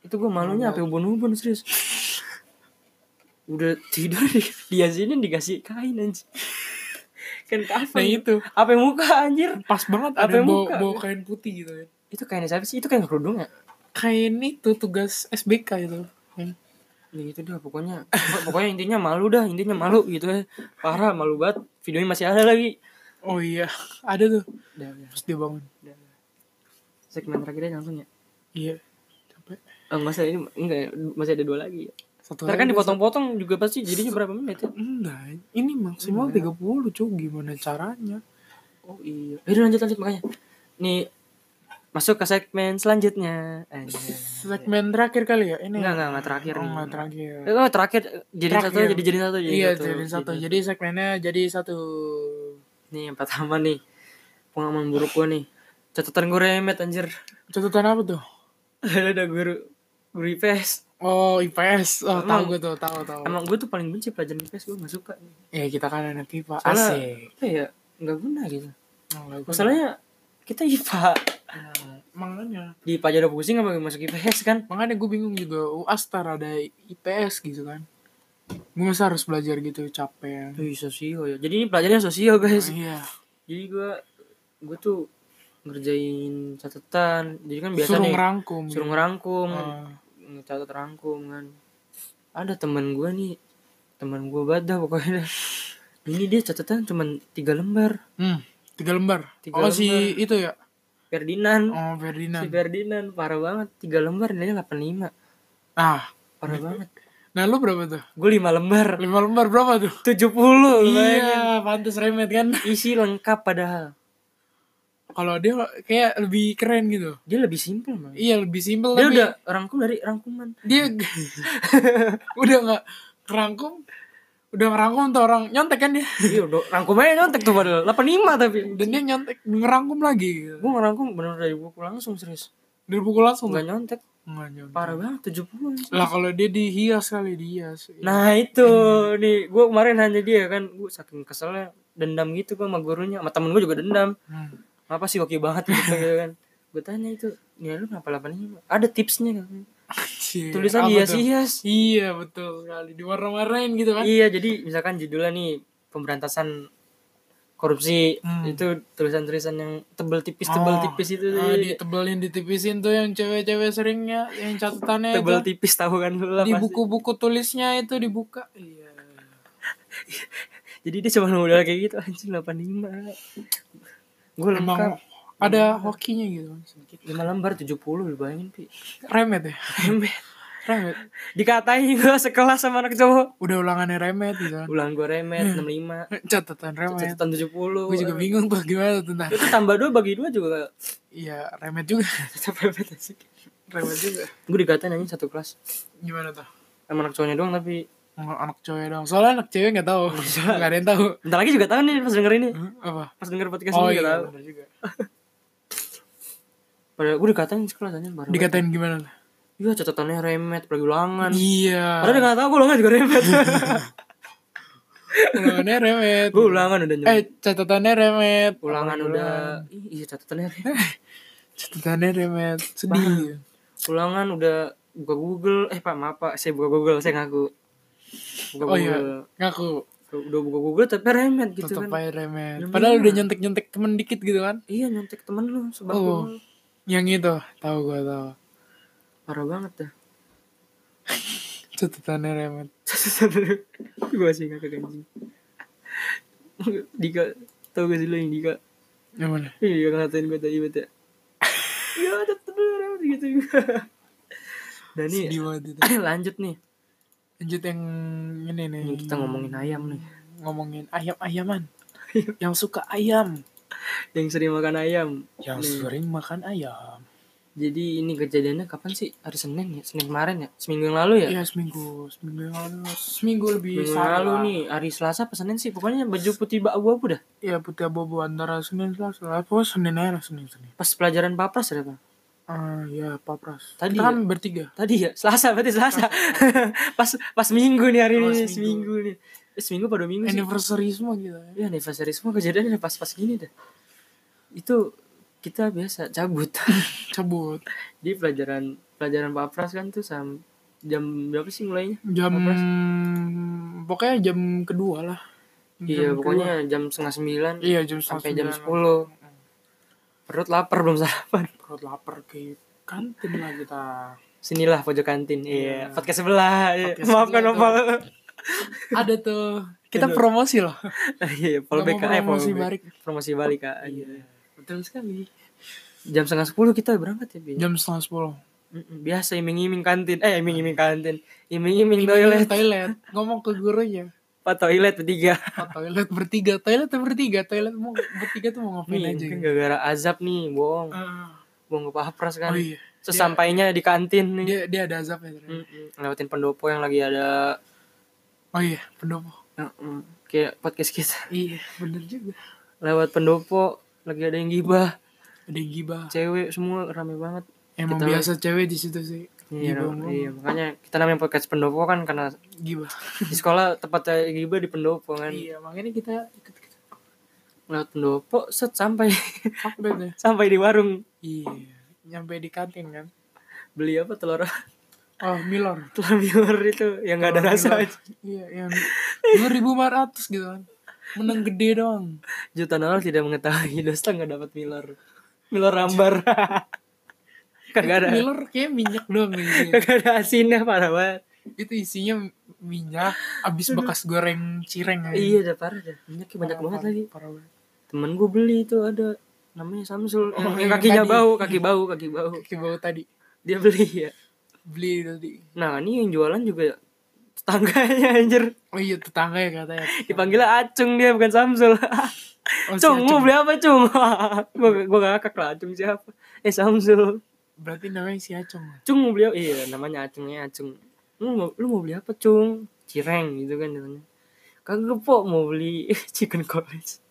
Speaker 1: Itu gue malunya apa ubun-ubun serius. udah tidur di, dia sini dikasih kain anjir. kan
Speaker 2: nah
Speaker 1: kapan?
Speaker 2: itu
Speaker 1: Apa muka anjir?
Speaker 2: pas banget
Speaker 1: Apa
Speaker 2: ada yang bawa,
Speaker 1: muka?
Speaker 2: bawa kain putih gitu ya
Speaker 1: Itu kainnya siapa sih? Itu kain kerudung ya?
Speaker 2: kain itu tugas SBK itu Hmm.
Speaker 1: ya gitu dah pokoknya Pokok- pokoknya intinya malu dah intinya malu gitu ya parah malu banget videonya masih ada lagi
Speaker 2: oh iya ada tuh
Speaker 1: Udah, udah,
Speaker 2: terus dia bangun
Speaker 1: udah. segmen terakhirnya langsung ya
Speaker 2: iya capek
Speaker 1: oh, masa ini enggak ya? masih ada dua lagi ya
Speaker 2: satu
Speaker 1: ntar kan
Speaker 2: lagi-
Speaker 1: dipotong-potong juga pasti jadinya berapa menit ya
Speaker 2: Enggak, ini
Speaker 1: Iya.
Speaker 2: maksimal 30 cuy gimana caranya?
Speaker 1: oh iya eh lanjut lanjut makanya nih masuk ke segmen selanjutnya Anjay.
Speaker 2: Segmen terakhir kali ya ini.
Speaker 1: enggak enggak enggak terakhir
Speaker 2: Oh,
Speaker 1: nih
Speaker 2: enggak terakhir.
Speaker 1: Eh, oh, terakhir jadi satu
Speaker 2: Terakhir.
Speaker 1: jadi jadi satu jadi
Speaker 2: Iya, jadi satu.
Speaker 1: Gitu.
Speaker 2: Jadi segmennya jadi satu.
Speaker 1: nih yang pertama nih pengalaman buruk gua nih catatan gue remet anjir
Speaker 2: Catatan apa tuh?
Speaker 1: ada ada guru guru IPS
Speaker 2: Oh, IPS. Oh, tahu
Speaker 1: Emang-
Speaker 2: gue tuh, tahu tahu.
Speaker 1: emang gue tuh paling benci pelajaran IPS gue gak suka
Speaker 2: Ya, kita kan anak IPA.
Speaker 1: Soalnya-
Speaker 2: Asik.
Speaker 1: apa ya nggak guna gitu
Speaker 2: Enggak, gua-
Speaker 1: masalahnya kita IPA
Speaker 2: Nah, makanya
Speaker 1: di IPA aja udah pusing apa masuk IPS kan
Speaker 2: makanya gue bingung juga UAS tar ada IPS gitu kan. Gue masa harus belajar gitu capek.
Speaker 1: Wih, sosio ya jadi ini pelajarannya sosio guys
Speaker 2: Iya.
Speaker 1: jadi gue gue tuh ngerjain catatan jadi kan biasa
Speaker 2: Suruh
Speaker 1: nih
Speaker 2: ngerangkum. gitu.
Speaker 1: suruh ngerangkum
Speaker 2: Ah.
Speaker 1: ngecatat rangkum kan ada teman gue nih teman gue badah pokoknya dah. ini dia catatan cuman tiga lembar
Speaker 2: Hmm, tiga lembar.
Speaker 1: Tiga
Speaker 2: oh, si itu ya.
Speaker 1: Ferdinand
Speaker 2: Oh,
Speaker 1: Si
Speaker 2: Ferdinand.
Speaker 1: Ferdinand parah banget, tiga lembar nilainya 85.
Speaker 2: Ah,
Speaker 1: Parah banget.
Speaker 2: nah lu berapa tuh?
Speaker 1: Gue lima lembar,
Speaker 2: Lima lembar berapa tuh?
Speaker 1: 70 lu bayangin.
Speaker 2: Iya, pantas remet kan.
Speaker 1: Isi lengkap padahal.
Speaker 2: Kalau dia kayak lebih keren gitu.
Speaker 1: Dia lebih simpel man. Dia
Speaker 2: Iya, lebih simpel tapi
Speaker 1: udah rangkum dari rangkuman.
Speaker 2: dia udah nggak kerangkum, udah ngerangkum tuh orang nyontek kan dia.
Speaker 1: Iya udah rangkumannya nyontek tuh padahal 85 tapi.
Speaker 2: Dan dia nyontek ngerangkum lagi. Gitu.
Speaker 1: Gue ngerangkum bener dari buku langsung serius.
Speaker 2: Dia pukul langsung.
Speaker 1: Enggak
Speaker 2: tuh.
Speaker 1: nyontek,
Speaker 2: Nggak nyontek.
Speaker 1: parah banget 70.
Speaker 2: Lah kalau dia dihias kali dihias.
Speaker 1: Nah itu nih gue kemarin hanya dia kan gue saking keselnya dendam gitu gue sama gurunya sama temen gue juga dendam
Speaker 2: Hmm.
Speaker 1: apa sih oke banget gitu, gitu kan gue tanya itu nilai lu kenapa 85 ada tipsnya kan
Speaker 2: Anjir,
Speaker 1: tulisan
Speaker 2: Iya, apa
Speaker 1: hias
Speaker 2: tuh?
Speaker 1: hias
Speaker 2: Iya, betul sekali. Diwarna-warnain gitu kan.
Speaker 1: iya jadi misalkan judulnya nih pemberantasan korupsi
Speaker 2: Hmm.
Speaker 1: itu tulisan-tulisan yang tebel tipis tebel
Speaker 2: Oh,
Speaker 1: tipis itu
Speaker 2: ah, ditebelin ditipisin tuh yang cewek-cewek seringnya yang catatannya
Speaker 1: tebel
Speaker 2: itu
Speaker 1: tipis tahu kan lu lah
Speaker 2: eh,
Speaker 1: pasti.
Speaker 2: di buku-buku tulisnya itu dibuka iya
Speaker 1: jadi dia cuma modal kayak gitu anjing 85 gue lengkap
Speaker 2: emang ada hokinya gitu
Speaker 1: lima lembar 70 lu bayangin pi
Speaker 2: remet ya
Speaker 1: Remet.
Speaker 2: remet
Speaker 1: dikatain gue sekelas sama anak cowok
Speaker 2: udah ulangannya remet gitu kan
Speaker 1: ulang gue remet 65
Speaker 2: catatan remet
Speaker 1: catatan 70
Speaker 2: gue juga bingung tuh gimana tuh ntar
Speaker 1: itu tambah dua bagi dua juga
Speaker 2: iya remet juga
Speaker 1: tetap remet asik
Speaker 2: remet juga
Speaker 1: gue dikatain anjing satu kelas
Speaker 2: gimana tuh
Speaker 1: sama anak cowoknya doang tapi
Speaker 2: Anak- anak cewek dong soalnya anak cewek nggak tahu nggak ada yang tahu
Speaker 1: Bentar lagi juga tahu nih pas denger ini.
Speaker 2: Hmm, apa
Speaker 1: Pas denger podcast
Speaker 2: oh
Speaker 1: ini juga
Speaker 2: iya
Speaker 1: tahu.
Speaker 2: bener juga
Speaker 1: Padahal gue dikatain sekelas aja baru.
Speaker 2: dikatain gimana tuh?
Speaker 1: Iya catatannya remet, apalagi ulangan. Padahal
Speaker 2: iya
Speaker 1: dia gak tau gue ulangan juga remet.
Speaker 2: ulangannya remet
Speaker 1: gue ulangan udah nyontek.
Speaker 2: Eh catatannya remet
Speaker 1: ulangan udah Ih, iya catatannya remet.
Speaker 2: Catatannya remet Sedih
Speaker 1: ulangan udah buka Google. Eh Pak, maaf Pak, saya buka Google, saya ngaku. Buka
Speaker 2: Oh
Speaker 1: Google.
Speaker 2: iya Ngaku
Speaker 1: Udah buka Google tapi remet gitu
Speaker 2: Tetep
Speaker 1: kan.
Speaker 2: aja remet
Speaker 1: Bener.
Speaker 2: Padahal udah nyentek-nyentek temen dikit gitu kan
Speaker 1: Iya nyontek temen lu sebab
Speaker 2: Oh.
Speaker 1: lu.
Speaker 2: Yang itu tahu gua tahu
Speaker 1: parah banget dah.
Speaker 2: Catatannya remet
Speaker 1: gue sih gak keganjing. Dika, tau gak sih lo yang Dika?
Speaker 2: Yang mana?
Speaker 1: Iya ngatain gue tadi bete. Iya ada telur gitu. Dan ini
Speaker 2: Sedih banget itu.
Speaker 1: lanjut nih.
Speaker 2: Lanjut yang ini nih.
Speaker 1: Ini kita ngomongin ayam nih.
Speaker 2: ngomongin ayam-ayaman. yang suka ayam,
Speaker 1: Yang sering makan ayam.
Speaker 2: yang
Speaker 1: Nih.
Speaker 2: sering makan ayam.
Speaker 1: Jadi ini kejadiannya kapan sih? Hari Senin ya? Senin kemarin ya? Seminggu yang lalu ya?
Speaker 2: Iya seminggu, seminggu yang lalu, seminggu lebih
Speaker 1: Minggu
Speaker 2: sehari
Speaker 1: lalu
Speaker 2: lah.
Speaker 1: nih hari Selasa apa Senin sih pokoknya baju putih abu-abu dah
Speaker 2: Iya putih abu-abu antara Senin Selasa, lah. pokoknya Senin aja lah Senin Senin.
Speaker 1: pas pelajaran papras ada apa
Speaker 2: Ah iya papras.
Speaker 1: Tadi
Speaker 2: Kita kan bertiga.
Speaker 1: tadi ya Selasa berarti Selasa pas pas Minggu nih hari
Speaker 2: Oh,
Speaker 1: ini
Speaker 2: seminggu.
Speaker 1: seminggu nih Eh, seminggu pada minggu sih
Speaker 2: Anniversary semua gitu ya.
Speaker 1: ya anniversary semua kejadiannya pas-pas gini dah itu kita biasa cabut
Speaker 2: Cabut.
Speaker 1: di pelajaran pelajaran papras kan tuh sam jam berapa sih mulainya
Speaker 2: Jam pokoknya jam kedua lah.
Speaker 1: iya
Speaker 2: Jam kedua.
Speaker 1: pokoknya jam setengah sembilan
Speaker 2: Iya jam
Speaker 1: sampai jam
Speaker 2: sepuluh.
Speaker 1: sepuluh perut lapar belum sarapan
Speaker 2: Perut lapar ke kantin lah kita.
Speaker 1: sinilah pojok kantin iya
Speaker 2: Iya.
Speaker 1: podcast sebelah Iya.
Speaker 2: Podcast
Speaker 1: maafkan
Speaker 2: sebelah
Speaker 1: opal
Speaker 2: Ada tuh kita
Speaker 1: Aduh.
Speaker 2: promosi loh.
Speaker 1: iya polbek
Speaker 2: Nggak
Speaker 1: eh,
Speaker 2: mau promosi
Speaker 1: polbek.
Speaker 2: balik.
Speaker 1: promosi balik kak
Speaker 2: Iya.
Speaker 1: betul sekali jam setengah sepuluh kita berangkat ya Bi?
Speaker 2: Jam setengah sepuluh.
Speaker 1: Mm-mm, biasa iming-iming kantin eh iming-iming kantin iming-iming ya. toilet
Speaker 2: toilet. Ngomong ke gurunya.
Speaker 1: pak toilet bertiga
Speaker 2: Oh, toilet bertiga, toilet tuh bertiga, toilet mau bertiga tuh mau
Speaker 1: nih
Speaker 2: ngapain aja.
Speaker 1: mungkin
Speaker 2: gitu.
Speaker 1: gara-gara azab nih bohong
Speaker 2: Ah.
Speaker 1: bohong ke papras kan
Speaker 2: Oh iya.
Speaker 1: sesampainya di kantin nih
Speaker 2: Dia dia ada ya, azabnya. ternyata.
Speaker 1: Mm-mm, lewatin pendopo yang lagi ada
Speaker 2: Oh iya, pendopo.
Speaker 1: Mm-mm,
Speaker 2: mm.
Speaker 1: kayak podcast kita
Speaker 2: Iya, bener juga.
Speaker 1: lewat pendopo lagi ada yang gibah
Speaker 2: Ada yang gibah.
Speaker 1: cewek semua rame banget
Speaker 2: Emang
Speaker 1: Kita-
Speaker 2: biasa cewek di situ sih.
Speaker 1: Iya,
Speaker 2: Gibah,
Speaker 1: ra- iya, makanya kita namanya podcast pendopo kan karena
Speaker 2: Gibah.
Speaker 1: di sekolah tempatnya gibah di pendopo kan
Speaker 2: iya, makanya kita ikut ikut
Speaker 1: lewat pendopo set sampai
Speaker 2: sampai deh.
Speaker 1: sampai di warung
Speaker 2: Iya, nyampe di kantin kan.
Speaker 1: beli apa telur
Speaker 2: Oh, Milor.
Speaker 1: telur miur itu yang nggak ada
Speaker 2: Telur
Speaker 1: rasa
Speaker 2: Milor. Iya, yang 2400 gitu kan. Menang gede doang.
Speaker 1: jutaan orang tidak mengetahui dosa nggak dapat milor milor rambar kagak ada
Speaker 2: Milor kayak minyak doang gitu.
Speaker 1: kagak ada asinnya parah banget
Speaker 2: itu isinya minyak abis bekas goreng cireng aja.
Speaker 1: iya udah parah dah minyaknya banyak banget lagi temen gue beli itu ada namanya Samsul Eh,
Speaker 2: Oh,
Speaker 1: yang, yang
Speaker 2: yang
Speaker 1: kakinya
Speaker 2: tadi.
Speaker 1: bau kaki bau kaki bau
Speaker 2: Kayak bau tadi
Speaker 1: dia beli ya
Speaker 2: beli tadi
Speaker 1: nah ini yang jualan juga tetangganya anjir
Speaker 2: oh iya tetangga ya katanya
Speaker 1: dipanggil Acung dia bukan Samsul
Speaker 2: oh, si
Speaker 1: Cung,
Speaker 2: Acung.
Speaker 1: mau beli apa Cung? gua gua ngakak lah Acung siapa? Eh Samsul.
Speaker 2: berarti namanya si Acung
Speaker 1: Cung mau beli apa? Iya, namanya Acungnya Acung. Lu mau, lu mau beli apa Cung? Cireng gitu kan katanya. Kagak po mau beli chicken college.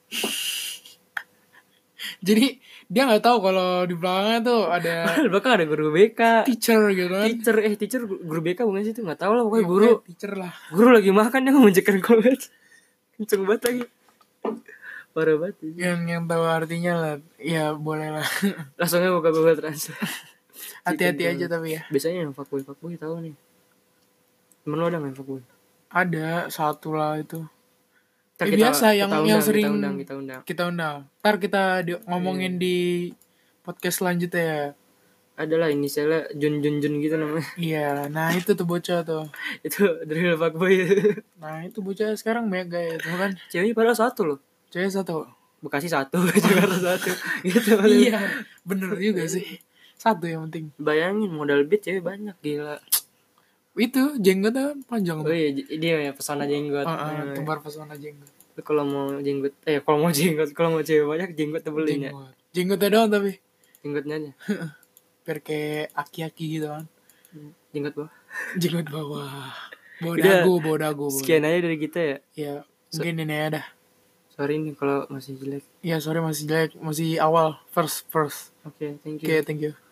Speaker 2: jadi dia nggak tahu kalau di belakangnya tuh ada
Speaker 1: Padahal belakang ada guru BK.
Speaker 2: teacher gitu kan
Speaker 1: Teacher eh teacher guru BK bukan sih itu nggak tahu lah
Speaker 2: Ya,
Speaker 1: pokoknya guru
Speaker 2: pokoknya teacher lah
Speaker 1: guru lagi makan dia mau chicken college. Kenceng banget lagi. Parah banget. ini.
Speaker 2: yang yang tahu artinya lah ya boleh lah
Speaker 1: Langsungnya buka Google Translate.
Speaker 2: hati-hati
Speaker 1: Chicken
Speaker 2: aja tapi ya
Speaker 1: Biasanya yang fuckboy fuckboy tahu nih. Temen lu ada nggak yang fuckboy?
Speaker 2: ada satu lah itu
Speaker 1: Ntar
Speaker 2: Ya, biasa, yang-
Speaker 1: undang,
Speaker 2: yang sering-
Speaker 1: kita undang, kita undang.
Speaker 2: kita undang ntar kita di-
Speaker 1: Iya.
Speaker 2: ngomongin di podcast selanjutnya ya
Speaker 1: Adalah inisialnya Jun Jun Jun gitu namanya.
Speaker 2: Iya, nah itu tuh bocah tuh.
Speaker 1: itu dari Lebak Boy.
Speaker 2: Nah itu bocah sekarang mega ya tuh kan.
Speaker 1: Ceweknya padahal satu loh.
Speaker 2: Cewek satu.
Speaker 1: Bekasi satu, Jakarta satu. Gitu.
Speaker 2: iya, bener juga sih. Satu yang penting.
Speaker 1: Bayangin modal beat cewek banyak gila.
Speaker 2: Itu jenggotnya kan panjang.
Speaker 1: Oh
Speaker 2: banget.
Speaker 1: iya j- dia ya pesona jenggot.
Speaker 2: Heeh,
Speaker 1: Iya.
Speaker 2: tebar pesona jenggot.
Speaker 1: Lu Kalau mau jenggot eh kalau mau jenggot, kalau mau cewek banyak jenggot tebelin ya.
Speaker 2: Jenggot. Jenggotnya doang tapi.
Speaker 1: Jenggotnya aja.
Speaker 2: Biar kayak aki-aki gitu kan.
Speaker 1: Jenggot bawah.
Speaker 2: Jenggot bawah. Bawa
Speaker 1: Udah.
Speaker 2: dagu, bawa dagu. bawa-
Speaker 1: Sekian aja dari kita ya.
Speaker 2: Ya, mungkin ini ya dah. Iya,
Speaker 1: Sorry nih kalau masih jelek.
Speaker 2: Ya, sorry masih jelek. Masih awal. First, first.
Speaker 1: Oke, thank you.
Speaker 2: Oke, thank you.